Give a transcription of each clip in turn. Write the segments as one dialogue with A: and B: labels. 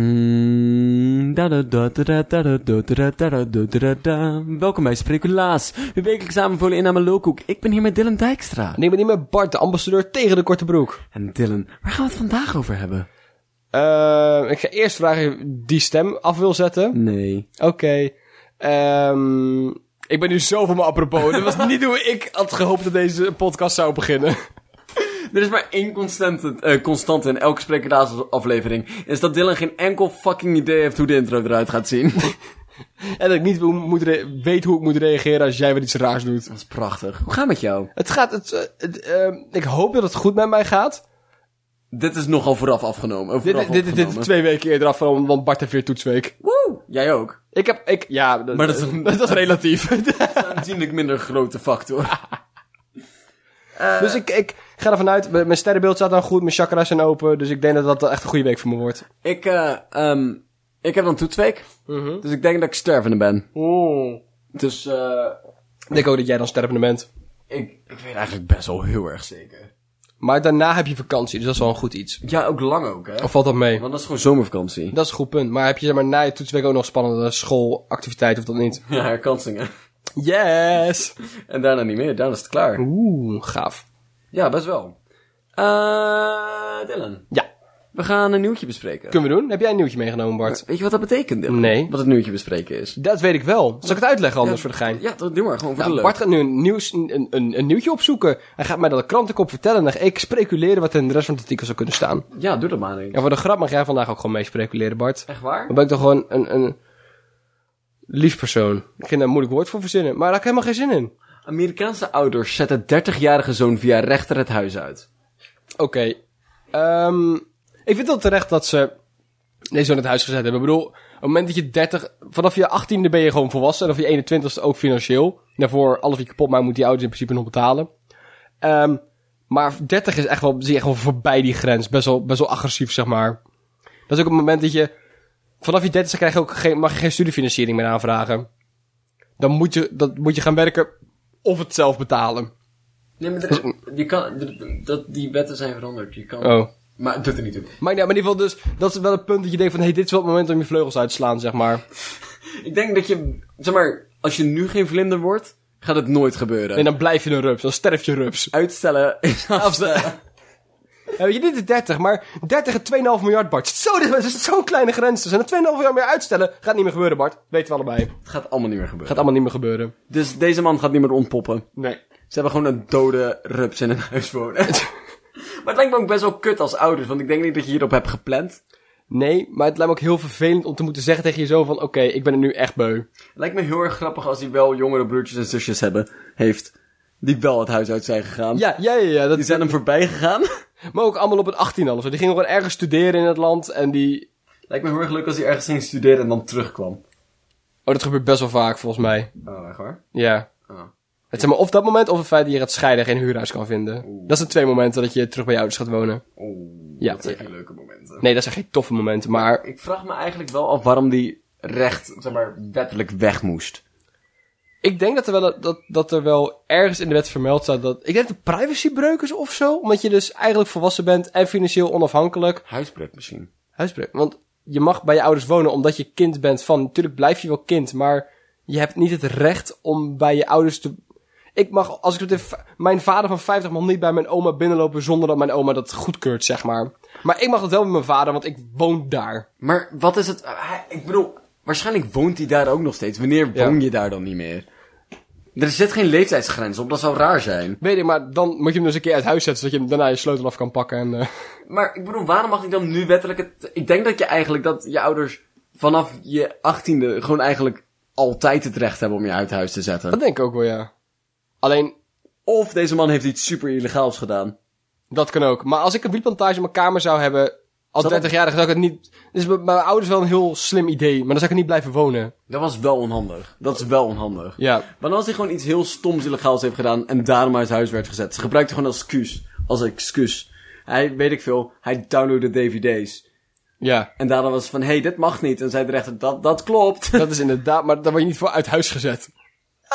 A: Hmm, da-da-da-da-da-da-da-da-da-da-da-da-da. Welkom bij Speculaas, uw wekelijks aanbevolen in mijn Lulkoek. Ik ben hier met Dylan Dijkstra.
B: En ik ben hier met Bart, de ambassadeur tegen de korte broek.
A: En Dylan, waar gaan we het vandaag over hebben?
B: Eh, ik ga eerst vragen of je die stem af wil zetten.
A: Nee.
B: Oké. Ehm, ik ben nu zo van mijn apropos. Dat was niet hoe ik had gehoopt dat deze podcast zou beginnen.
A: Er is maar één constante, eh, constante in elke Speculaas aflevering. Is dat Dylan geen enkel fucking idee heeft hoe de intro eruit gaat zien.
B: En dat ik niet hoe- moet re- weet hoe ik moet reageren als jij weer iets raars doet.
A: Dat is prachtig. Hoe gaat het met jou?
B: Het gaat... Het, eh, het, ehm, ik hoop dat het goed met mij gaat.
A: Dit is nogal vooraf afgenomen. eh,
B: Dit,
A: Vooraf
B: dit, dit, dit is
A: opgenomen.
B: twee weken eerder afgenomen, want Bart heeft weer toetsweek.
A: Woe! Jij ook.
B: Ik heb... Ik, ja, eh,
A: Maar dat is-
B: dat is relatief.
A: Een aanzienlijk minder grote factor.
B: Dus ik, ik ga ervan uit, mijn mijn sterrenbeeld staat nou goed, mijn chakras zijn open, dus ik denk dat dat echt een goede week voor me wordt.
A: Ik, eh, ehm, ik heb een toetsweek.
B: Mhm.
A: Dus ik denk dat ik stervende ben. Dus, eh,
B: Ik denk ook dat jij dan stervende bent.
A: ik, ik weet eigenlijk best wel heel erg zeker.
B: Maar daarna heb je vakantie, dus dat is wel een goed iets.
A: Ja, ook lang ook, hè?
B: Of valt dat mee?
A: Want dat is gewoon zomervakantie.
B: Dat is een goed punt. Maar heb je zeg maar, na je toetsweek ook nog spannende schoolactiviteiten of dat niet?
A: Ja, herkansingen.
B: Yes!
A: En daarna niet meer, daarna is het klaar.
B: Oeh, gaaf.
A: Ja, best wel. Eh, Dylan,
B: Ja,
A: we gaan een nieuwtje bespreken.
B: kunnen we doen. Heb jij een nieuwtje meegenomen, Bart?
A: Weet je wat dat betekent, Dylan?
B: Nee.
A: Wat het nieuwtje bespreken is.
B: Dat weet ik wel. Zal ik het uitleggen anders voor de gein?
A: Ja, dat doe maar, gewoon voor
B: Nou,
A: de
B: Bart
A: leuk.
B: gaat nu een, nieuws, een, een, een nieuwtje opzoeken. Hij gaat mij dat de krantenkop vertellen en dan ga ik speculeren wat er in de rest van het artikel zou kunnen staan.
A: Ja, doe dat maar, denk ik.
B: Ja, voor de grap mag jij vandaag ook gewoon meespeculeren, Bart.
A: Echt waar?
B: Dan ben ik toch gewoon een, een lief persoon. Ik ging daar een moeilijk woord voor verzinnen, maar daar heb ik helemaal geen zin in.
A: Amerikaanse ouders zetten 30-jarige zoon via rechter het huis uit.
B: Oké. Ehm, ik vind het terecht dat ze deze zo in het huis gezet hebben. Ik bedoel, op het moment dat je 30... Vanaf je 18e ben je gewoon volwassen. En of je 21ste ook financieel. Daarvoor, alles wat je kapot maakt, moet die ouders in principe nog betalen. Ehm, maar 30 is echt wel, zie je echt wel voorbij die grens. Best wel, best wel agressief, zeg maar. Dat is ook op het moment dat je... Vanaf je 30ste krijg je ook geen, mag je geen studiefinanciering meer aanvragen. Dan moet je, dat, moet je gaan werken of het zelf betalen.
A: Nee, maar er is- je kan, d- dat, die wetten zijn veranderd. Je kan,
B: Hm. Oh.
A: Maar het doet er niet toe.
B: Maar, ja, maar in ieder geval dus, dat is wel het punt dat je denkt van, hey, dit is wel het moment om je vleugels uit te slaan, zeg maar.
A: Ik denk dat je, zeg maar, als je nu geen vlinder wordt, gaat het nooit gebeuren.
B: En dan blijf je een rups, dan sterf je rups.
A: Uitstellen is afstellen.
B: Ja, weet je, dit is 30, maar 30 en 2,5 miljard, Bart. Zo, dit is zo'n kleine grens. Dus en dat 2,5 miljard meer uitstellen, gaat niet meer gebeuren, Bart. Weten we allebei.
A: Het gaat allemaal niet meer gebeuren.
B: Gaat allemaal niet meer gebeuren.
A: Dus deze man gaat niet meer ontpoppen.
B: Nee.
A: Ze hebben gewoon een dode rups in een huis wonen. maar het lijkt me ook best wel kut als ouders, want ik denk niet dat je hierop hebt gepland.
B: Nee, maar het lijkt me ook heel vervelend om te moeten zeggen tegen je zoon van, oké, ik ben er nu echt beu.
A: Het lijkt me heel erg grappig als hij wel jongere broertjes en zusjes hebben, heeft, die wel het huis uit zijn gegaan.
B: Ja, ja, ja, ja. Dat,
A: Die zijn hem voorbij gegaan.
B: Maar ook allemaal op het 18 al of zo. Die gingen gewoon ergens studeren in het land en die...
A: Lijkt me heel erg leuk als hij ergens ging studeren en dan terugkwam.
B: Oh, dat gebeurt best wel vaak, volgens mij.
A: Oh, echt waar?
B: Ja.
A: Oh.
B: Het zeg maar of dat moment of het feit dat je gaat scheiden en geen huurhuis kan vinden. Dat zijn twee momenten dat je terug bij je ouders gaat wonen.
A: Oeh,
B: Ja,
A: dat zijn
B: ja.
A: geen leuke momenten.
B: Nee, dat zijn geen toffe momenten, maar...
A: Ik vraag me eigenlijk wel af waarom die recht, zeg maar, wettelijk weg moest.
B: Ik denk dat er wel, dat, dat er wel ergens in de wet vermeld staat dat... Ik denk dat het privacybreuk is of zo. Omdat je dus eigenlijk volwassen bent en financieel onafhankelijk.
A: Huisbreuk misschien.
B: Huisbreuk. Want je mag bij je ouders wonen omdat je kind bent van... Natuurlijk blijf je wel kind, maar je hebt niet het recht om bij je ouders te... Ik mag, als ik het even... Mijn vader van 50 mag niet bij mijn oma binnenlopen zonder dat mijn oma dat goedkeurt, zeg maar. Maar ik mag dat wel met mijn vader, want ik woon daar.
A: Maar wat is het... eh, hij- Ik bedoel, waarschijnlijk woont hij daar ook nog steeds. Wanneer
B: Ja.
A: woon je daar dan niet meer? Er zit geen leeftijdsgrens op, dat zou raar zijn.
B: Weet ik, maar dan moet je hem dus een keer uit huis zetten, zodat je hem daarna je sleutel af kan pakken. En, eh,
A: Maar ik bedoel, waarom mag ik dan nu wettelijk het... Ik denk dat je eigenlijk, dat je ouders vanaf je achttiende gewoon eigenlijk altijd het recht hebben om je uit huis te zetten.
B: dat denk ik ook wel, ja. Alleen,
A: Of deze man heeft iets super illegaals gedaan.
B: dat kan ook. Maar als ik een wietplantage in mijn kamer zou hebben, als
A: Zou dat-
B: 30-jarige, zou ik het niet... Dus bij bij mijn ouders wel een heel slim idee, maar dan zou ik er niet blijven wonen.
A: Dat was wel onhandig. Dat is wel onhandig.
B: Ja.
A: Maar dan als hij gewoon iets heel stoms illegaals heeft gedaan en daarom uit huis werd gezet. Ze gebruikte gewoon als excuus. Als excuus. Hij, weet ik veel, hij downloadde dvd's.
B: Ja,
A: En daarom was het van, hé, hey, dit mag niet. En zei de rechter, dat, dat klopt.
B: dat is inderdaad, maar daar word je niet voor uit huis gezet.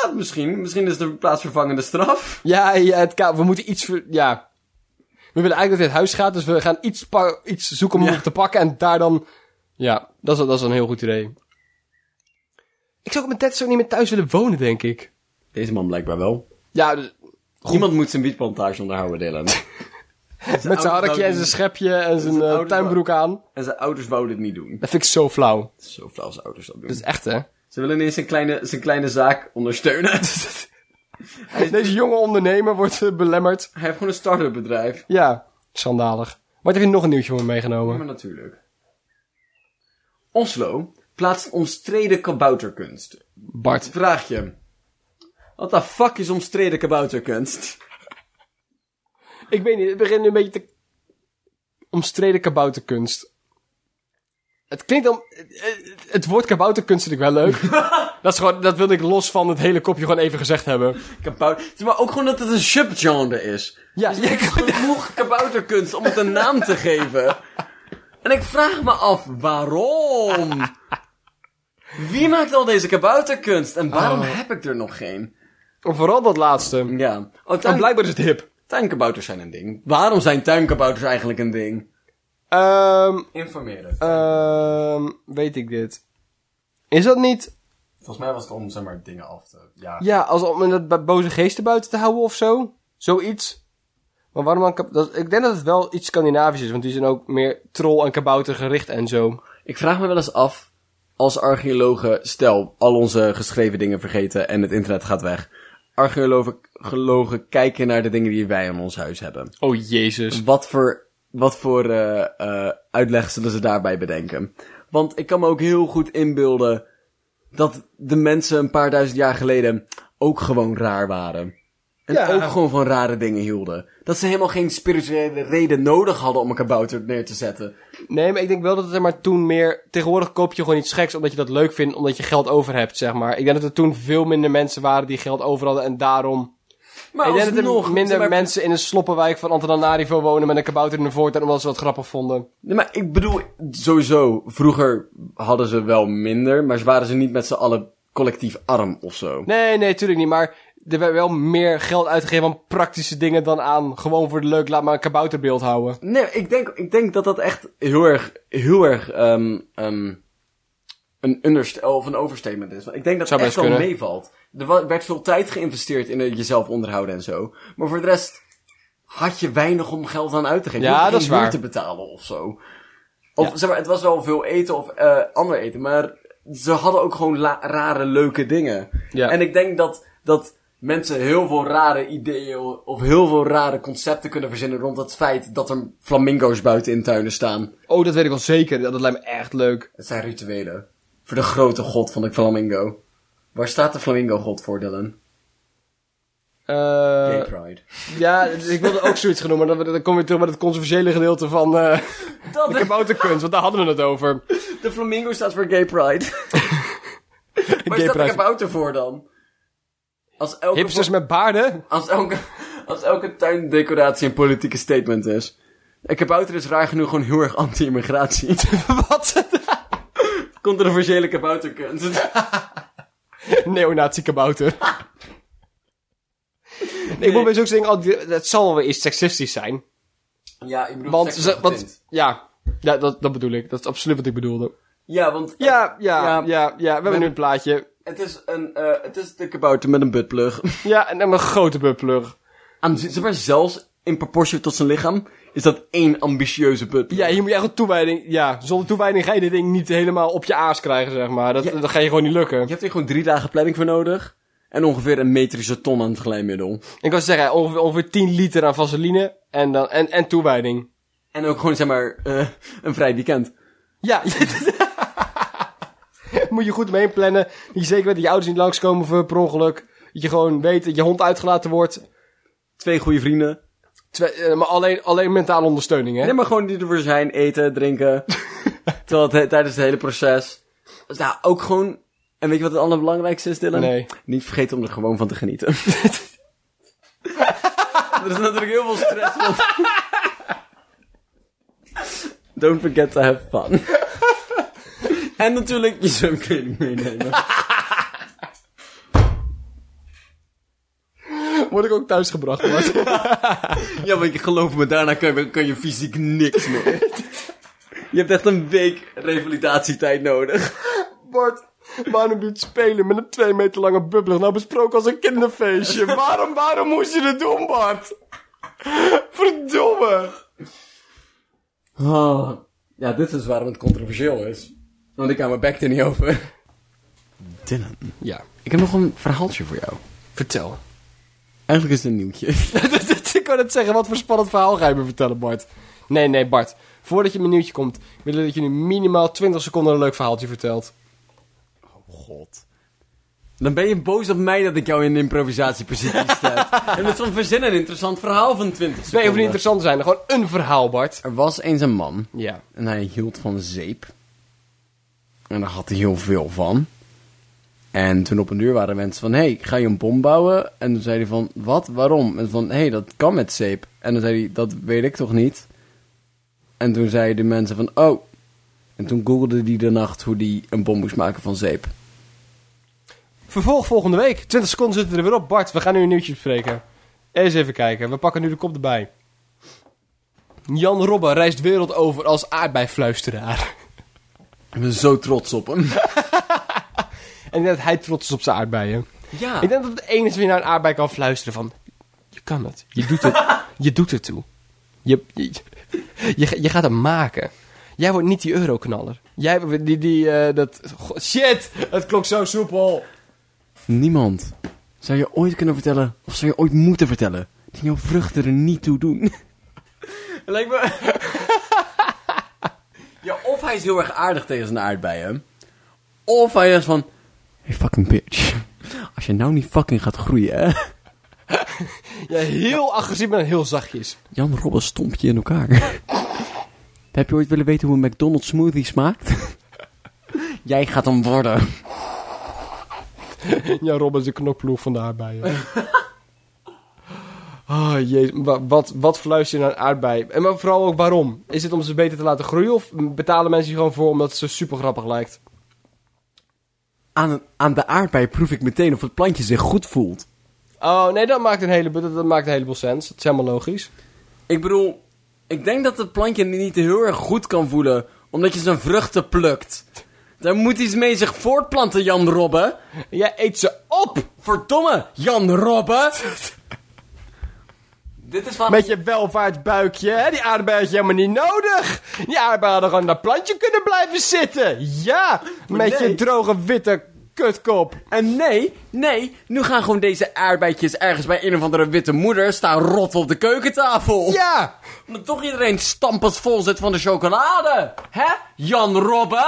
A: Ja, misschien. Misschien is het een plaatsvervangende straf.
B: Ja, ja het ka- we moeten iets... Ver... Ja. We willen eigenlijk dat hij uit huis gaat, dus we gaan iets, pa- iets zoeken om
A: Ja.
B: hem te pakken en daar dan Ja, dat is, dat is een heel goed idee. Ik zou ook met Ted zo niet meer thuis willen wonen, denk ik.
A: Deze man blijkbaar wel.
B: Ja, dus-
A: Iemand moet zijn wietplantage onderhouden, Dylan.
B: met zijn harkje en zijn schepje en zijn eh,
A: oude
B: tuinbroek aan.
A: En zijn ouders wouden dit niet doen.
B: Dat vind ik zo flauw.
A: Zo flauw zijn ouders dat doen.
B: Dat is echt, hè?
A: Ze willen ineens zijn kleine, zijn kleine zaak ondersteunen.
B: Deze jonge ondernemer wordt eh, belemmerd.
A: Hij heeft gewoon een start-up bedrijf.
B: Ja, schandalig. Maar heb je nog een nieuwtje voor me meegenomen?
A: Maar natuurlijk. Oslo plaatst omstreden kabouterkunst.
B: Bart.
A: Vraag je. Wat de fuck is omstreden kabouterkunst?
B: Ik weet niet, het begint nu een beetje te... Omstreden kabouterkunst. Het klinkt om... Het, het woord kabouterkunst vind ik wel leuk. dat, is gewoon, dat wilde ik los van het hele kopje gewoon even gezegd hebben.
A: Kabouter... Maar ook gewoon dat het een subgenre is.
B: Ja,
A: Dus er is genoeg kabouterkunst om het een naam te geven. En ik vraag me af, waarom? Wie maakt al deze kabouterkunst? En waarom heb ik er nog geen?
B: Vooral dat laatste.
A: Ja. Oh,
B: En
A: tuin-
B: blijkbaar is het hip.
A: Tuinkabouters zijn een ding. Waarom zijn tuinkabouters eigenlijk een ding?
B: Ehm,
A: Informeren.
B: ehm, weet ik dit. Is dat niet...
A: Volgens mij was het om, zeg maar, dingen af te... Ja.
B: Ja, als om dat bij boze geesten buiten te houden of zo? Zoiets. Maar waarom dan... kab- Dat, ik denk dat het wel iets Scandinavisch is. Want die zijn ook meer troll en kabouter gericht en zo.
A: Ik vraag me wel eens af, als archeologen, stel, al onze geschreven dingen vergeten en het internet gaat weg. Archeologen gelogen kijken naar de dingen die wij in ons huis hebben.
B: Oh, jezus.
A: Wat voor, wat voor eh, eh, uitleg zullen ze daarbij bedenken? Want ik kan me ook heel goed inbeelden dat de mensen een paar duizend jaar geleden ook gewoon raar waren. En
B: Ja.
A: ook gewoon van rare dingen hielden. Dat ze helemaal geen spirituele reden nodig hadden om een kabouter neer te zetten.
B: Nee, maar ik denk wel dat het er maar toen meer... Tegenwoordig koop je gewoon iets geks omdat je dat leuk vindt, omdat je geld over hebt, zeg maar. Ik denk dat er toen veel minder mensen waren die geld over hadden en daarom...
A: Maar
B: ik denk Nou, dat er
A: alsnog,
B: minder
A: zeg maar,
B: mensen in een sloppenwijk van Antananarivo wonen met een kabouter in de voortuin omdat ze wat grappig vonden.
A: Nee, maar ik bedoel, sowieso, vroeger hadden ze wel minder, maar ze waren ze niet met z'n allen collectief arm of zo.
B: Nee, nee, tuurlijk niet, maar er werd wel meer geld uitgegeven aan praktische dingen dan aan gewoon voor de leuk, laat maar een kabouterbeeld houden.
A: Nee, ik denk, ik denk dat dat echt heel erg, heel erg ehm ehm een understel of een overstatement is. Want ik denk dat
B: Zou
A: het echt
B: best
A: wel
B: kunnen.
A: meevalt. Er wa- werd veel tijd geïnvesteerd in het jezelf onderhouden en zo. Maar voor de rest had je weinig om geld aan uit te geven. Je
B: Ja,
A: hoefde
B: dat is
A: geen huur
B: waar.
A: te betalen of zo. Of zeg maar, het was wel veel eten of eh ander eten, maar ze hadden ook gewoon la- rare leuke dingen.
B: Ja.
A: En ik denk dat, dat mensen heel veel rare ideeën of heel veel rare concepten kunnen verzinnen rond het feit dat er flamingo's buiten in tuinen staan.
B: Oh, dat weet ik wel zeker. Dat lijkt me echt leuk.
A: Het zijn rituelen. Voor de grote god van de flamingo. Waar staat de flamingo-god voor, Dylan?
B: Eh,
A: Gay Pride.
B: ja, ik wilde ook zoiets genoemd, maar dan, dan kom je terug bij het controversiële gedeelte van... eh,
A: Dat
B: De kabouterkunst, want daar hadden we het over.
A: de flamingo staat voor Gay Pride. Waar
B: Gay
A: staat de
B: pride.
A: kabouter voor dan? Als elke
B: Hipsters met baarden?
A: Als elke, als elke tuindecoratie een politieke statement is. Ik heb Kabouter is raar genoeg gewoon heel erg anti-immigratie.
B: Wat?
A: Controversiële kabouterkunst.
B: Neonazi kabouter. Ik moet bij zulke dingen altijd... Het zal wel weer iets seksistisch zijn.
A: Ja, ik bedoel...
B: Want...
A: seks
B: Ze,
A: met getint.
B: want ja, ja dat, dat bedoel ik. Dat is absoluut wat ik bedoelde.
A: Ja, want
B: Ja, ja, ja,
A: Ja.
B: ja. we hebben nu een plaatje.
A: het is een... eh, het is de kabouter met een buttplug.
B: Ja, en dan een grote buttplug.
A: Aan, zeg maar, zelfs in proportie tot zijn lichaam is dat één ambitieuze buttplug.
B: Ja, hier moet je echt een toewijding... Ja, zonder toewijding ga je dit ding niet helemaal op je aas krijgen, zeg maar. Dat,
A: Ja.
B: dat ga je gewoon niet lukken.
A: Je hebt hier gewoon drie dagen planning voor nodig. En ongeveer een metrische ton aan het glijmiddel.
B: Ik kan zeggen, ongeveer, ongeveer 10 liter aan vaseline en, dan, en, en toewijding.
A: En ook gewoon, zeg maar, eh, een vrij weekend.
B: Ja. Moet je goed mee plannen. Dat je zeker weet dat je ouders niet langskomen voor per ongeluk. Dat je gewoon weet dat je hond uitgelaten wordt.
A: Twee goede vrienden.
B: Twee- eh, maar alleen, alleen mentale ondersteuning, hè?
A: Nee, maar gewoon die ervoor zijn. Eten, drinken. Terwijl het he- tijdens het hele proces. Dus ja, ook gewoon... En weet je wat het allerbelangrijkste is, Dylan?
B: Nee.
A: Niet vergeten om er gewoon van te genieten. er is natuurlijk heel veel stress. Want... Don't forget to have fun. en natuurlijk je zwemkleding meenemen.
B: Word ik ook thuis gebracht,
A: ja, want je geloof me, daarna kan je, kan je fysiek niks meer. Je hebt echt een week revalidatietijd nodig.
B: Bart, waarom doet spelen met een twee meter lange bubbelig nou besproken als een kinderfeestje? Waarom, waarom moest je dit doen, Bart? Verdomme.
A: Oh. Ja, dit is waarom het controversieel is. Want ik hou mijn bek er niet over. Dylan,
B: Ja,
A: ik heb nog een verhaaltje voor jou.
B: vertel.
A: Eigenlijk is het een nieuwtje.
B: ik kan het zeggen, wat voor spannend verhaal ga je me vertellen, Bart? Nee, nee, Bart. Voordat je mijn nieuwtje komt, willen we dat je nu minimaal 20 seconden een leuk verhaaltje vertelt.
A: Oh, God. Dan ben je boos op mij dat ik jou in een improvisatiepositie stel. en met zo'n verzin een interessant verhaal van 20 seconden.
B: Nee, even niet interessant zijn, gewoon een verhaal, Bart.
A: Er was eens een man
B: Ja.
A: en hij hield van zeep. En daar had hij heel veel van. En toen op een duur waren mensen van, hey, ga je een bom bouwen? En toen zei hij van, wat, waarom? En van, hey, dat kan met zeep. En dan zei hij, dat weet ik toch niet? En toen zeiden de mensen van, oh. En toen googelde hij de nacht hoe hij een bom moest maken van zeep.
B: Vervolg volgende week. 20 seconden zitten er weer op. Bart, we gaan nu een nieuwtje bespreken. Eens even kijken. We pakken nu de kop erbij. Jan Robben reist wereld over als aardbeifluisteraar.
A: Ik ben zo trots op hem.
B: En ik denk dat hij trots is op zijn aardbeien.
A: Ja.
B: Ik denk dat de enige die naar een aardbei kan fluisteren van... Je kan het. Je doet het. je doet het toe. Je, je, je, je gaat het maken. Jij wordt niet die euroknaller. Jij, die, die, eh, dat... Goh, Shit! Het klonk zo soepel.
A: Niemand. Zou je ooit kunnen vertellen, of zou je ooit moeten vertellen, dat jouw vruchten er niet toe doen? Lijkt me... ja, of hij is heel erg aardig tegen zijn aardbeien, of hij is van... Hey fucking bitch, als je nou niet fucking gaat groeien, hè?
B: Ja, heel agressief en heel zachtjes.
A: Jan Robben stompt je in elkaar. Heb je ooit willen weten hoe een McDonald's smoothie smaakt? Jij gaat hem worden.
B: Ja, Robin is de knokploeg van de aardbeien. Ah, jezus. Wa- Wat, wat fluister je naar een aardbei? En maar vooral ook waarom? Is het om ze beter te laten groeien of betalen mensen hier gewoon voor omdat het zo super grappig lijkt?
A: Aan, aan de aardbei proef ik meteen of het plantje zich goed voelt.
B: Oh, nee, dat maakt een heleboel, dat, dat maakt een heleboel sens. Dat is helemaal logisch.
A: Ik bedoel, ik denk dat het plantje niet heel erg goed kan voelen, omdat je zijn vruchten plukt. Daar moet iets mee zich voortplanten, Jan Robbe.
B: Jij eet ze op!
A: Verdomme, Jan Robbe. Dit is wat...
B: Met je welvaartsbuikje, hè? Die aardbei had je helemaal niet nodig! Die aardbei hadden gewoon in dat plantje kunnen blijven zitten! Ja! Met
A: nee.
B: je droge witte kutkop!
A: En nee, nee, nu gaan gewoon deze aardbeidjes ergens bij een of andere witte moeder staan rotten op de keukentafel.
B: Ja!
A: Maar toch iedereen stampend vol zit van de chocolade. Hè, Jan Robbe?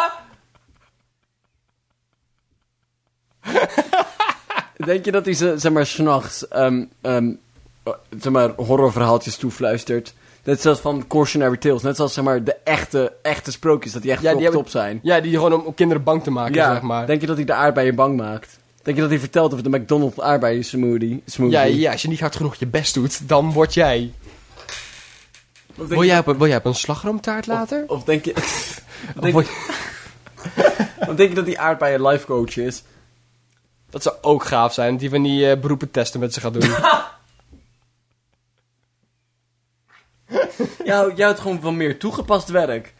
A: Denk je dat hij, ze- zeg maar, s'nachts, ehm ehm, eh, zeg maar, horrorverhaaltjes toefluistert? Net zoals van Cautionary Tales. Net zoals, zeg maar, de echte, echte sprookjes. Dat die echt
B: Ja, die
A: op
B: hebben-
A: top zijn.
B: Ja, die gewoon om, om kinderen bang te maken, zeg maar.
A: Denk je dat hij de aardbeien bang maakt? Denk je dat hij vertelt over de McDonald's aardbeien smoothie? smoothie?
B: Ja, ja, als je niet hard genoeg je best doet, dan word jij...
A: Of denk
B: Wil
A: je-
B: jij op een, wil jij op een slagroomtaart later?
A: Of denk je...
B: Of
A: denk-
B: word je-
A: of denk je dat die aardbei een life coach is?
B: Dat zou ook gaaf zijn, die van die eh, beroepen testen met ze gaat doen.
A: Jou, jij houdt gewoon van meer toegepast werk.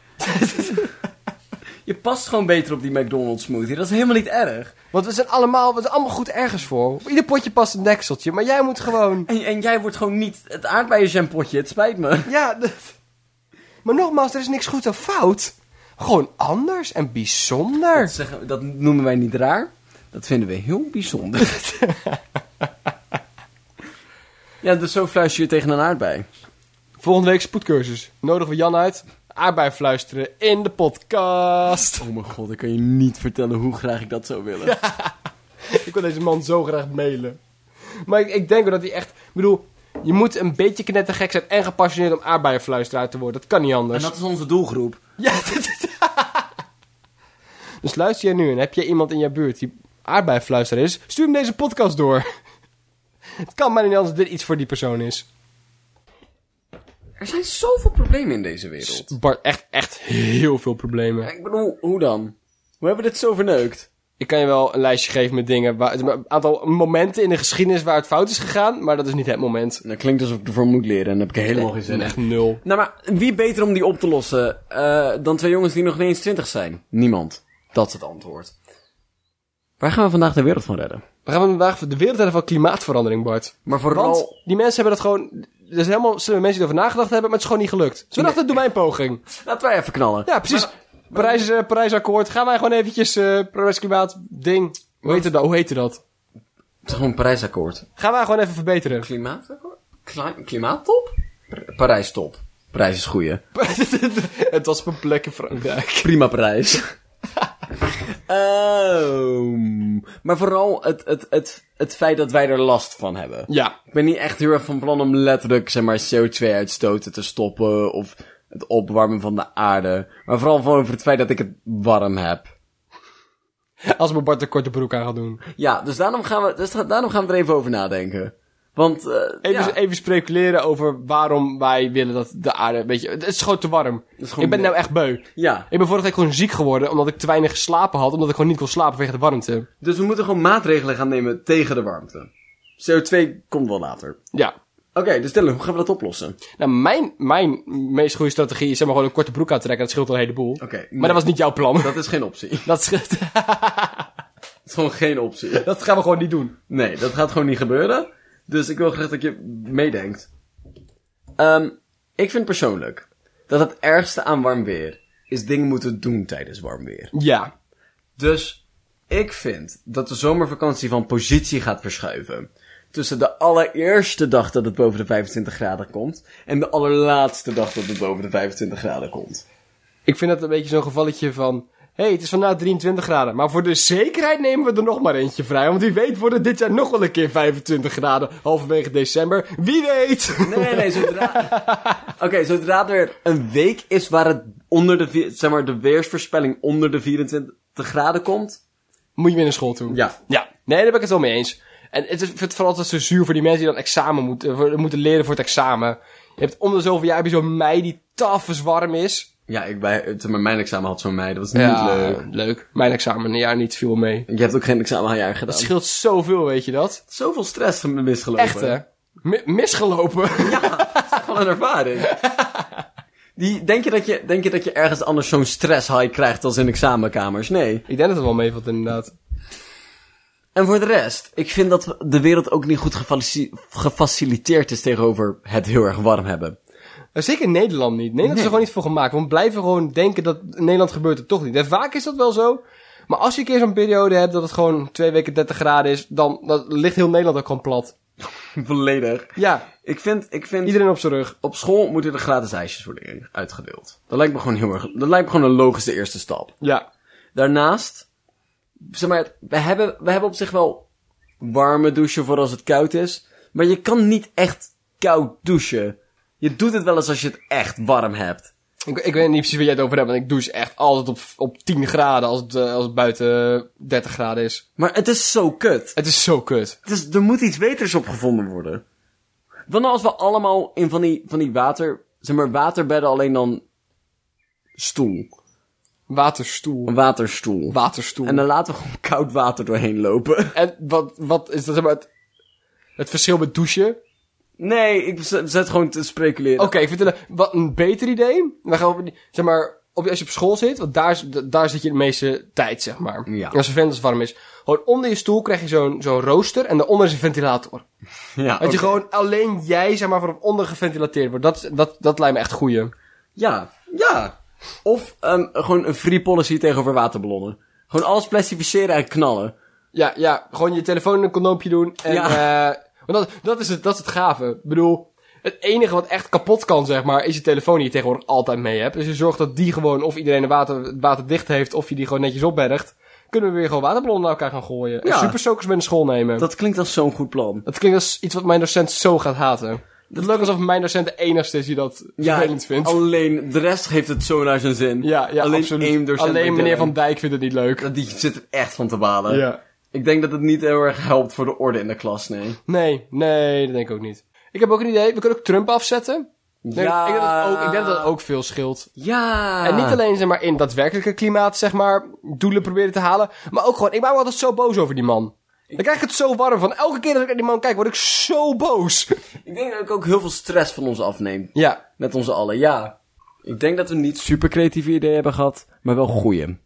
A: je past gewoon beter op die McDonald's smoothie. Dat is helemaal niet erg.
B: Want we zijn allemaal, we zijn allemaal goed ergens voor. Op ieder potje past een dekseltje, maar jij moet gewoon...
A: En, en jij wordt gewoon niet het aardbeienjampotje. Het spijt me.
B: Ja, dat- maar nogmaals, er is niks goed of fout. Gewoon anders en
A: Dat,
B: bijzonder.
A: zeggen, dat noemen wij niet raar. Dat vinden we heel bijzonder. ja, dus zo fluister je tegen een aardbei.
B: Volgende week spoedcursus. Nodigen we Jan uit. Aardbei fluisteren in de podcast.
A: Oh mijn god, ik kan je niet vertellen hoe graag ik dat zou willen.
B: Ik wil deze man zo graag mailen. Maar ik, ik denk wel dat hij echt... Ik bedoel, je moet een beetje knettergek zijn en gepassioneerd om aardbeienfluisteraar te worden. Dat kan niet
A: En
B: anders.
A: dat is onze doelgroep.
B: Ja, dit- dit- dus luister jij nu en heb je iemand in jouw buurt die aardbeienfluisteraar is... Stuur hem deze podcast door. Het kan maar niet anders dat dit iets voor die persoon is.
A: Er zijn zoveel problemen in deze wereld.
B: Bart, echt, echt heel veel problemen.
A: Ik bedoel, hoe dan? Hoe hebben we dit zo verneukt?
B: ik kan je wel een lijstje geven met dingen. Waar, een aantal momenten in de geschiedenis waar het fout is gegaan, maar dat is niet het moment.
A: Dat klinkt alsof ik ervoor moet leren en daar heb ik helemaal geen zin in.
B: Echt nul.
A: Nou, maar wie beter om die op te lossen eh, dan twee jongens die nog niet eens twintig zijn? Niemand. Dat is het antwoord. Waar gaan we vandaag de wereld van redden?
B: We gaan vandaag de wereld hebben van klimaatverandering, Bart.
A: Maar
B: Want
A: vooral...
B: die mensen hebben dat gewoon... Er zijn helemaal slimme mensen die erover nagedacht hebben, maar het is gewoon niet gelukt. Ze dachten, doe mij een poging.
A: Laten wij even knallen.
B: Ja, precies. Parijs, eh, Parijsakkoord. Gaan wij gewoon eventjes eh Parijs klimaat ding. Hoe heette dat? Hoe heette dat?
A: Het is gewoon een Parijsakkoord.
B: Gaan wij gewoon even verbeteren.
A: Klimaatakkoord? Kli- Klimaattop? Par- Parijstop. Parijs is goeie.
B: het was op een plek in Frankrijk.
A: Prima Parijs. Ehm, maar vooral het, het, het, het feit dat wij er last van hebben.
B: Ja.
A: Ik ben niet echt heel erg van plan om letterlijk, zeg maar, CO2-uitstoten te stoppen of het opwarmen van de aarde. Maar vooral van over het feit dat ik het warm heb.
B: Als mijn Bart een korte broek aan gaat doen.
A: Ja, dus daarom gaan we, dus da- daarom gaan we er even over nadenken. Want, eh,
B: Even,
A: ja.
B: even speculeren over waarom wij willen dat de aarde... Weet je, het is gewoon te warm.
A: is gewoon
B: ik ben
A: te-
B: nou echt beu.
A: ja,
B: Ik ben vorige week gewoon ziek geworden omdat ik te weinig geslapen had. Omdat ik gewoon niet kon slapen vanwege de warmte.
A: dus we moeten gewoon maatregelen gaan nemen tegen de warmte. CO2 komt wel later.
B: Ja.
A: Oké, dus Dylan, hoe gaan we dat oplossen?
B: Nou, mijn, mijn meest goede strategie is zeg maar gewoon een korte broek aantrekken. Dat scheelt al een heleboel.
A: Oké, nee.
B: Maar dat was niet jouw plan.
A: Dat is geen optie. Dat
B: Dat, scheelt-
A: is gewoon geen optie.
B: dat gaan we gewoon niet doen.
A: Nee, dat gaat gewoon niet gebeuren. Dus ik wil graag dat je meedenkt. Ehm, ik vind persoonlijk dat het ergste aan warm weer is dingen moeten doen tijdens warm weer.
B: Ja.
A: Dus ik vind dat de zomervakantie van positie gaat verschuiven. Tussen de allereerste dag dat het boven de 25 graden komt en de allerlaatste dag dat het boven de 25 graden komt.
B: Ik vind dat een beetje zo'n gevalletje van... Hé, hey, het is vandaag 23 graden. Maar voor de zekerheid nemen we er nog maar eentje vrij. Want wie weet worden dit jaar nog wel een keer 25 graden. Halverwege december. Wie weet!
A: Nee, nee, nee, zodra... Oké, zodra er een week is waar het onder de, vi- zeg maar, de weersvoorspelling onder de 24 graden komt,
B: Moet je weer naar school toe.
A: Ja.
B: Ja. Nee, daar ben ik het wel mee eens. En het is, ik vind het vooral altijd zo zuur voor die mensen die dan examen moeten, voor- moeten leren voor het examen. Je hebt om de zoveel jaar heb je zo'n mei die tafels warm is.
A: Ja, ik bij, het- maar mijn examen had zo'n mei. Dat was niet
B: Ja,
A: leuk.
B: leuk. Mijn examen een jaar niet viel mee.
A: Je hebt ook geen examenjaar gedaan.
B: Het scheelt zoveel, weet je dat?
A: Zoveel stress misgelopen.
B: Echt, hè? Mi- misgelopen.
A: Van een ervaring. Die, denk, je dat je, denk je dat je ergens anders zo'n stress high krijgt als in examenkamers? Nee.
B: ik denk dat het wel meevalt, inderdaad.
A: En voor de rest, ik vind dat de wereld ook niet goed gefalici- gefaciliteerd is tegenover het heel erg warm hebben.
B: Maar Eh, Zeker in Nederland niet. Nederland is er gewoon niet voor gemaakt. Want we blijven gewoon denken dat in Nederland gebeurt het toch niet. En vaak is dat wel zo. Maar als je een keer zo'n periode hebt dat het gewoon twee weken 30 graden is, dan, dan ligt heel Nederland ook gewoon plat.
A: Volledig.
B: Ja,
A: Ik vind, ik vind
B: iedereen op zijn rug.
A: op school moeten er gratis ijsjes worden in- uitgedeeld. Dat lijkt me gewoon heel erg, dat lijkt me gewoon een logische eerste stap.
B: Ja.
A: Daarnaast, zeg maar, we hebben, we hebben op zich wel warme douchen voor als het koud is. Maar je kan niet echt koud douchen. Je doet het wel eens als je het echt warm hebt.
B: Ik, ik weet niet precies waar jij het over hebt, want ik douche echt altijd op, op 10 graden als het, eh, als het buiten eh, 30 graden is.
A: Maar het is zo kut.
B: Het is zo kut.
A: Dus er moet iets beters op gevonden worden. Want nou, als we allemaal in van die, van die water, zeg maar, waterbedden alleen dan stoel.
B: Waterstoel.
A: Een waterstoel.
B: Waterstoel.
A: En dan laten we gewoon koud water doorheen lopen.
B: En wat, wat is dat zeg maar het, het verschil met douchen? Oké,
A: Nee, ik zet zet gewoon te speculeren.
B: ik vind het een- wat een beter idee. Dan gaan we, zeg maar, op, als je op school zit, want daar, is- da- daar zit je de meeste tijd, zeg maar.
A: Ja.
B: En als het vent als het warm is. Gewoon onder je stoel krijg je zo'n zo'n rooster en daaronder is een ventilator.
A: Ja,
B: Dat
A: oké.
B: je gewoon alleen jij, zeg maar, vanaf onder geventilateerd wordt. Dat, is- dat, dat lijkt me echt goeie.
A: Ja, ja. Of ehm, gewoon een free policy tegenover waterballonnen. Gewoon alles plastificeren en knallen.
B: Ja, ja, gewoon je telefoon in een condoompje doen. En,
A: Ja.
B: eh, want dat, dat, is het, dat is het gave. Ik bedoel, het enige wat echt kapot kan, zeg maar, is je telefoon die je tegenwoordig altijd mee hebt. Dus je zorgt dat die gewoon, of iedereen de water, waterdicht heeft, of je die gewoon netjes opbergt. Kunnen we weer gewoon waterballon naar elkaar gaan gooien.
A: Ja.
B: En supersokers met naar school nemen. Dat...
A: Dat klinkt als zo'n goed plan.
B: klinkt als iets wat mijn docent zo gaat haten. Het lijkt alsof mijn docent de enigste is die dat vervelend vindt.
A: alleen de rest heeft het zo naar zijn zin.
B: Ja, ja,
A: alleen
B: absoluut.
A: één docent
B: alleen
A: bij
B: meneer Van
A: Dylan.
B: Dijk vindt het niet leuk.
A: Die zit er echt van te balen.
B: Ja.
A: Ik denk dat het niet heel erg helpt voor de orde in de klas, nee.
B: Nee, nee, dat denk ik ook niet. Ik heb ook een idee, we kunnen ook Trump afzetten. Nee,
A: ja. Ah.
B: ik, denk dat het ook, ik denk dat het ook veel scheelt.
A: Ja.
B: En niet alleen zeg maar, in daadwerkelijke klimaat, zeg maar, doelen proberen te halen. Maar ook gewoon, ik maak me altijd zo boos over die man. Dan krijg ik het zo warm van. Elke keer dat ik naar die man kijk, word ik zo boos.
A: Ik denk dat ik ook heel veel stress van ons afneem.
B: ja,
A: Met onze allen, ja. Ik denk dat we niet super creatieve ideeën hebben gehad, maar wel goeie.
B: jullie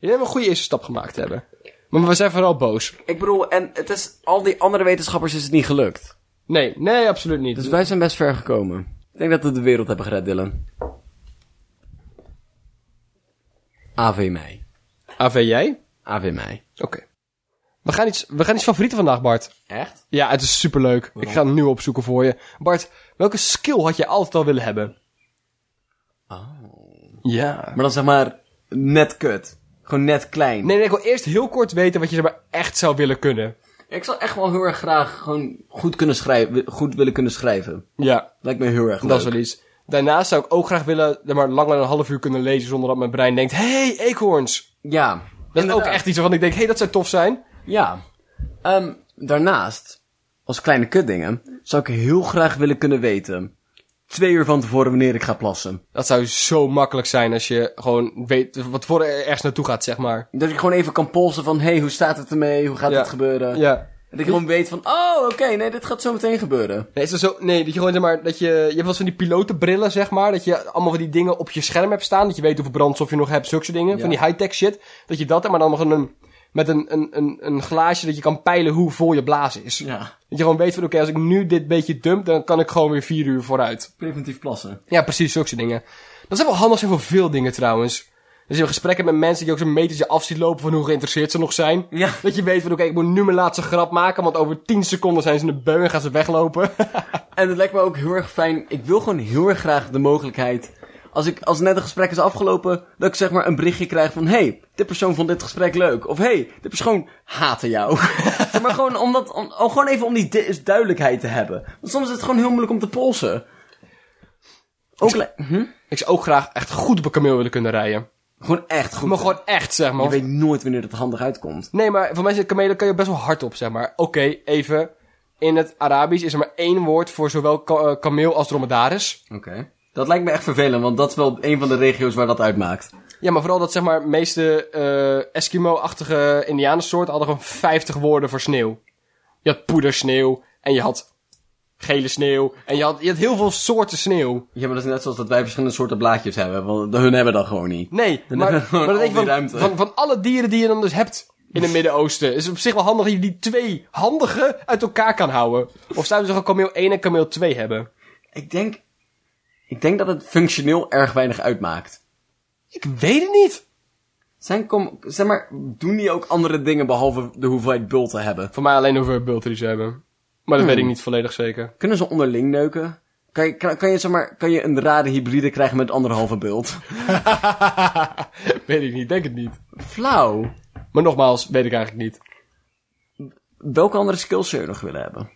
B: hebben een goede eerste stap gemaakt hebben. Maar we zijn vooral boos.
A: Ik bedoel, en het is, al die andere wetenschappers is het niet gelukt.
B: Nee, nee, absoluut niet.
A: Dus wij zijn best ver gekomen. Ik denk dat we de wereld hebben gered, Dylan. AV mij.
B: AV, jij?
A: AV mij.
B: Oké. We, gaan iets- we gaan iets favorieten vandaag, Bart.
A: Echt?
B: Ja, het is superleuk. Ik ga het nu opzoeken voor je. Bart, welke skill had jij altijd al willen hebben? Oh. Ja.
A: Maar dan zeg maar, net kut. Gewoon net klein.
B: Nee, nee, ik wil eerst heel kort weten wat je zeg maar echt zou willen kunnen.
A: Ik zou echt wel heel erg graag gewoon goed kunnen schrijven, goed willen kunnen schrijven.
B: Ja.
A: Lijkt me heel erg leuk.
B: Dat is wel iets. Daarnaast zou ik ook graag willen zeg maar langer dan een half uur kunnen lezen zonder dat mijn brein denkt... Hey, eekhoorns!
A: Ja.
B: Dat is ook
A: Inderdaad.
B: echt iets waarvan ik denk, hey, dat zou tof zijn.
A: Ja. Ehm, daarnaast, als kleine kutdingen, zou ik heel graag willen kunnen weten. Twee uur van tevoren wanneer ik ga plassen.
B: Dat zou zo makkelijk zijn als je gewoon weet wat voor ergens naartoe gaat, zeg maar.
A: Dat ik gewoon even kan polsen van, hé, hey, hoe staat het ermee? Hoe gaat
B: Ja.
A: dit gebeuren?
B: Ja.
A: Dat ik gewoon weet van, oh, oké, nee, dit gaat zo meteen gebeuren.
B: Nee, is dat zo, nee, dat je gewoon, zeg maar, dat je, je hebt wel eens van die pilotenbrillen, zeg maar, dat je allemaal van die dingen op je scherm hebt staan, dat je weet hoeveel brandstof je nog hebt, zulke soort dingen,
A: Ja.
B: van die high-tech shit, dat je dat hebt, maar dan nog een, met een, een, een, een glaasje dat je kan peilen hoe vol je blaas is.
A: Ja.
B: Dat je gewoon weet van, oké, als ik nu dit beetje dump, dan kan ik gewoon weer vier uur vooruit.
A: Preventief plassen.
B: Ja, precies, zulke soort dingen. Dat is wel handig zijn voor veel dingen, trouwens. Dus je hebt gesprekken met mensen die ook zo'n metertje af ziet lopen van hoe geïnteresseerd ze nog zijn.
A: Ja.
B: Dat je weet van, oké, ik moet nu mijn laatste grap maken, want over 10 seconden zijn ze in de beu en gaan ze weglopen.
A: En het lijkt me ook heel erg fijn. Ik wil gewoon heel erg graag de mogelijkheid. Als, ik, als net een gesprek is afgelopen, dat ik zeg maar een berichtje krijg van... hey, dit persoon vond dit gesprek leuk. Of hey, dit persoon haatte jou. Zeg maar gewoon, om dat, om, om gewoon even om die du- duidelijkheid te hebben. Want soms is het gewoon heel moeilijk om te polsen. Ook le- hm?
B: Ik zou ook graag echt goed op een kameel willen kunnen rijden.
A: Gewoon echt goed.
B: Maar gewoon echt, zeg maar.
A: Je weet nooit wanneer het handig uitkomt.
B: Nee, maar voor mij zijn kamelen kan je best wel hard op, zeg maar. Oké, even. In het Arabisch is er maar één woord voor zowel ka- eh, kameel als dromedaris.
A: Oké. Dat lijkt me echt vervelend, want dat is wel een van de regio's waar dat uitmaakt.
B: Ja, maar vooral dat, zeg maar, meeste eh, Eskimo-achtige indianensoorten hadden gewoon 50 woorden voor sneeuw. Je had poedersneeuw en je had gele sneeuw en je had, je had heel veel soorten sneeuw.
A: Ja, maar dat is net zoals dat wij verschillende soorten blaadjes hebben. Want hun hebben dat gewoon niet.
B: Nee,
A: Dan
B: maar,
A: hebben we gewoon
B: maar dan
A: al
B: denk je
A: die
B: van,
A: ruimte.
B: van, van alle dieren die je dan dus hebt in het Midden-Oosten, is het op zich wel handig dat je die twee handige uit elkaar kan houden. Of zouden ze gewoon kameel 1 en kameel 2 hebben?
A: Ik denk, ik denk dat het functioneel erg weinig uitmaakt.
B: Ik weet het niet.
A: Zijn kom, zeg maar, doen die ook andere dingen behalve de hoeveelheid bulten hebben?
B: Voor mij alleen over bulten die ze hebben. Maar
A: Hmm.
B: dat weet ik niet volledig zeker.
A: Kunnen ze onderling neuken? Kan je, kan, kan je, zeg maar, kan je een rare hybride krijgen met anderhalve bult?
B: weet ik niet, denk het niet.
A: Flauw.
B: Maar nogmaals, weet ik eigenlijk niet.
A: Welke andere skills zou je nog willen hebben?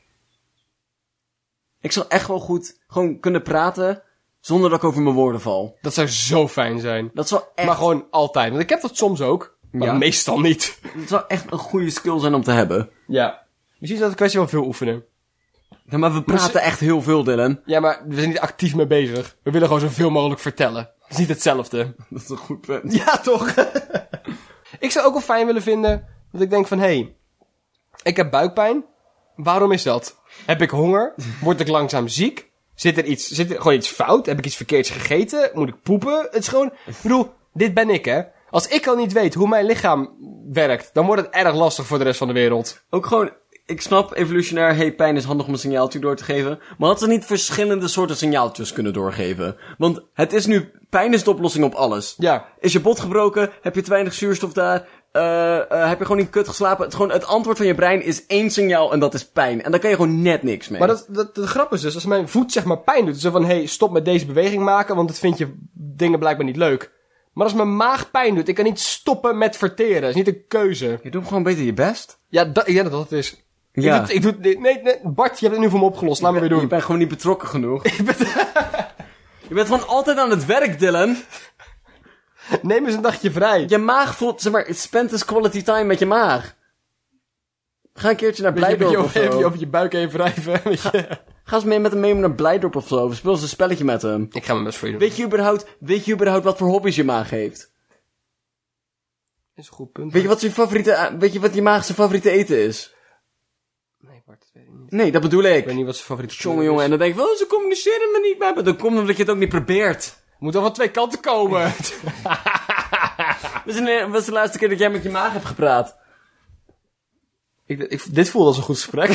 A: Ik zou echt wel goed gewoon kunnen praten zonder dat ik over mijn woorden val.
B: Dat zou zo fijn zijn.
A: Dat zou echt,
B: Maar gewoon altijd. Want ik heb dat soms ook. Maar
A: Ja.
B: meestal niet.
A: dat zou echt een goede skill zijn om te hebben.
B: Ja. Misschien is dat een kwestie van veel oefenen.
A: Ja, maar we praten echt heel veel, Dylan.
B: Ja, maar we zijn niet actief mee bezig. We willen gewoon zoveel mogelijk vertellen. Het is niet hetzelfde.
A: Dat is een goed punt.
B: Ja, toch? ik zou ook wel fijn willen vinden dat ik denk van... Hé, hey, ik heb buikpijn. Waarom is dat? Heb ik honger? Word ik langzaam ziek? Zit er, iets, zit er gewoon iets fout? Heb ik iets verkeerds gegeten? Moet ik poepen? Het is gewoon... Ik bedoel, dit ben ik, hè? Als ik al niet weet hoe mijn lichaam werkt... dan wordt het erg lastig voor de rest van de wereld.
A: Ook gewoon, ik snap evolutionair, hey, pijn is handig om een signaaltje door te geven. Maar had ze niet verschillende soorten signaaltjes kunnen doorgeven? Want het is nu, pijn is de oplossing op alles.
B: Ja.
A: Is je bot gebroken? Heb je te weinig zuurstof daar? Eh, eh, heb je gewoon in kut geslapen? Het, gewoon, het antwoord van je brein is één signaal en dat is pijn. En daar kan je gewoon net niks mee.
B: Maar dat, dat, de grap is dus, als mijn voet zeg maar pijn doet... zo van, hé, hey, stop met deze beweging maken... want dat vind je dingen blijkbaar niet leuk. Maar als mijn maag pijn doet... ik kan niet stoppen met verteren. Dat is niet een keuze.
A: Je doet gewoon beter je best.
B: Ja, dat, ik denk dat dat het is. Ik
A: Ja.
B: doe, het- ik doe, het- nee, nee, nee, Bart, je hebt het nu voor me opgelost. Laat me weer
A: Je
B: doen.
A: bent gewoon niet betrokken genoeg. je bent gewoon altijd aan het werk, Dylan.
B: Neem eens een dagje vrij.
A: Je maag voelt, zeg maar, spend this quality time met je maag. Ga een keertje naar
B: Weet je,
A: Blijdorp of
B: je, je,
A: zo.
B: over je buik heen wrijven. weet je.
A: Ga eens mee met hem mee naar Blijdorp of zo. Of speel eens een spelletje met hem.
B: Ik ga mijn best voor je doen.
A: Weet je überhaupt, weet je überhaupt wat voor hobby's je maag heeft?
B: Is een goed punt.
A: Weet je wat zijn favoriete, eh, weet je wat je maag zijn favoriete eten is?
B: Nee, Bart, dat weet ik niet.
A: Nee, dat bedoel
B: Ik weet
A: ik.
B: niet wat zijn favoriete
A: Jongen, jongen. En dan denk ik, oh, ze communiceren me niet met me. Dan komt omdat je het ook niet probeert.
B: Moet wel van twee kanten komen.
A: Wat is de- wat is de laatste keer dat jij met je maag hebt gepraat?
B: ik, ik, dit voelde als een goed gesprek.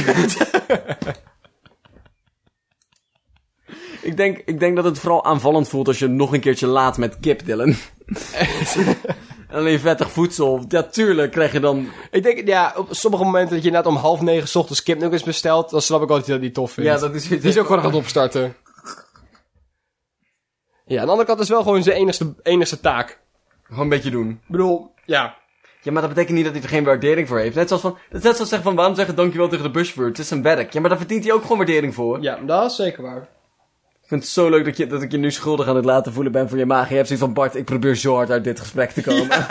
A: Ik denk, ik denk dat het vooral aanvallend voelt als je nog een keertje laat met kip, Dylan. Alleen vettig voedsel. Ja, tuurlijk krijg je dan...
B: ik denk, ja, op sommige momenten dat je net om half negen 's ochtends kipnuggets bestelt, dan snap ik altijd dat hij die tof vindt.
A: Ja, dat is...
B: Die is ook gewoon gaat opstarten. Ja, aan de andere kant is wel gewoon zijn enigste, enigste taak.
A: Gewoon een beetje doen.
B: Ik bedoel, ja.
A: Ja, maar dat betekent niet dat hij er geen waardering voor heeft. Net zoals van... dat is net zoals zeggen van, waarom zeggen dankjewel tegen de busvoer? Het is een werk. Ja, maar daar verdient hij ook gewoon waardering voor.
B: Ja, dat is zeker waar.
A: Ik vind het zo leuk dat, je, dat ik je nu schuldig aan het laten voelen ben voor je maag. En je hebt zoiets van, Bart, ik probeer zo hard uit dit gesprek te komen.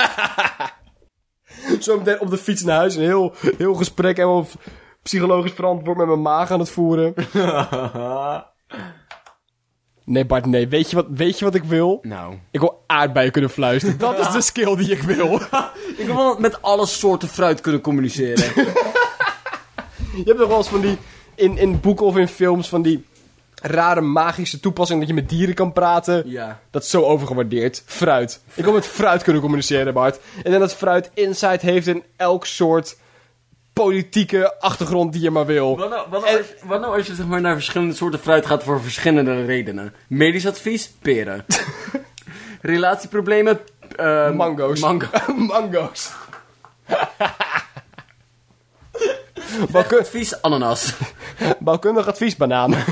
B: Zo meteen op de fiets naar huis, een heel, heel gesprek, helemaal v- psychologisch verantwoord met mijn maag aan het voeren. Nee Bart, nee. Weet je wat, weet je wat ik wil?
A: nou.
B: Ik wil aardbeien kunnen fluisteren. Dat is de skill die ik wil.
A: Ik wil wel met alle soorten fruit kunnen communiceren.
B: Je hebt nog wel eens van die, in, in boeken of in films, van die rare magische toepassing dat je met dieren kan praten.
A: ja.
B: Dat is zo overgewaardeerd. Fruit. Ik wil met fruit kunnen communiceren, Bart. En dan dat fruit insight heeft in elk soort politieke achtergrond die je maar wil.
A: Wat nou, wat nou als, wat nou als je zeg maar, naar verschillende soorten fruit gaat voor verschillende redenen? Medisch advies? Peren. Relatieproblemen? eh,
B: Mango's.
A: Mango.
B: Mango's. Bouwkun-
A: Advies? Ananas.
B: bouwkundig advies, bananen.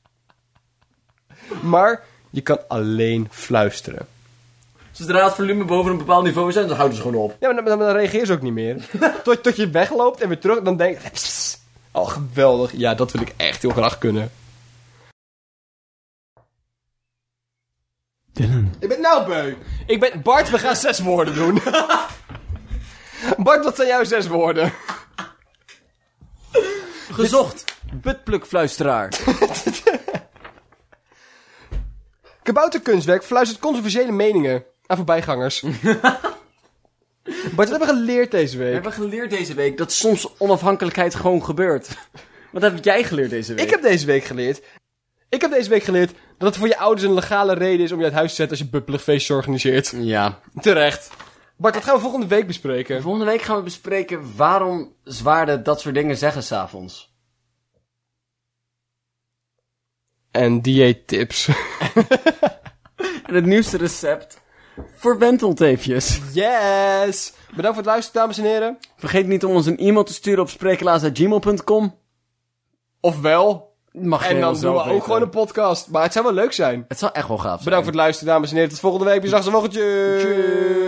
B: maar je kan alleen fluisteren.
A: Zodra het volume boven een bepaald niveau is, dan houden ze gewoon op.
B: Ja, maar dan, dan reageer ze ook niet meer. tot, tot je wegloopt en weer terug, dan denk je... Oh, geweldig. Ja, dat wil ik echt heel graag kunnen.
A: Dylan.
B: Ik ben nou beu. Ik ben... Bart, we gaan zes woorden doen. Bart, wat zijn jouw zes woorden?
A: Gezocht. Butplukfluisteraar.
B: Kabouterkunstwerk fluistert controversiële meningen aan voorbijgangers. Bart, wat hebben we geleerd deze
A: We
B: week?
A: hebben geleerd deze week dat soms onafhankelijkheid gewoon gebeurt. Wat heb jij geleerd deze week?
B: Ik heb deze week geleerd... Ik heb deze week geleerd dat het voor je ouders een legale reden is om je uit huis te zetten als je bubbelig feestje organiseert.
A: Ja.
B: Terecht. Bart, dat gaan we volgende week bespreken.
A: Volgende week gaan we bespreken waarom zwaarden dat soort dingen zeggen s'avonds.
B: En dieettips.
A: En het nieuwste recept voor wentelteefjes.
B: Yes! Bedankt voor het luisteren, dames en heren.
A: Vergeet niet om ons een e-mail te sturen op sprekelaars.gmail.com.
B: Ofwel,
A: Mag
B: En dan doen we ook gewoon een
A: een...
B: podcast. Maar het zou wel leuk zijn.
A: Het zou echt wel gaaf zijn.
B: Bedankt voor het luisteren, dames en heren. Tot volgende week. Bedankt, morgen.
A: Tjus.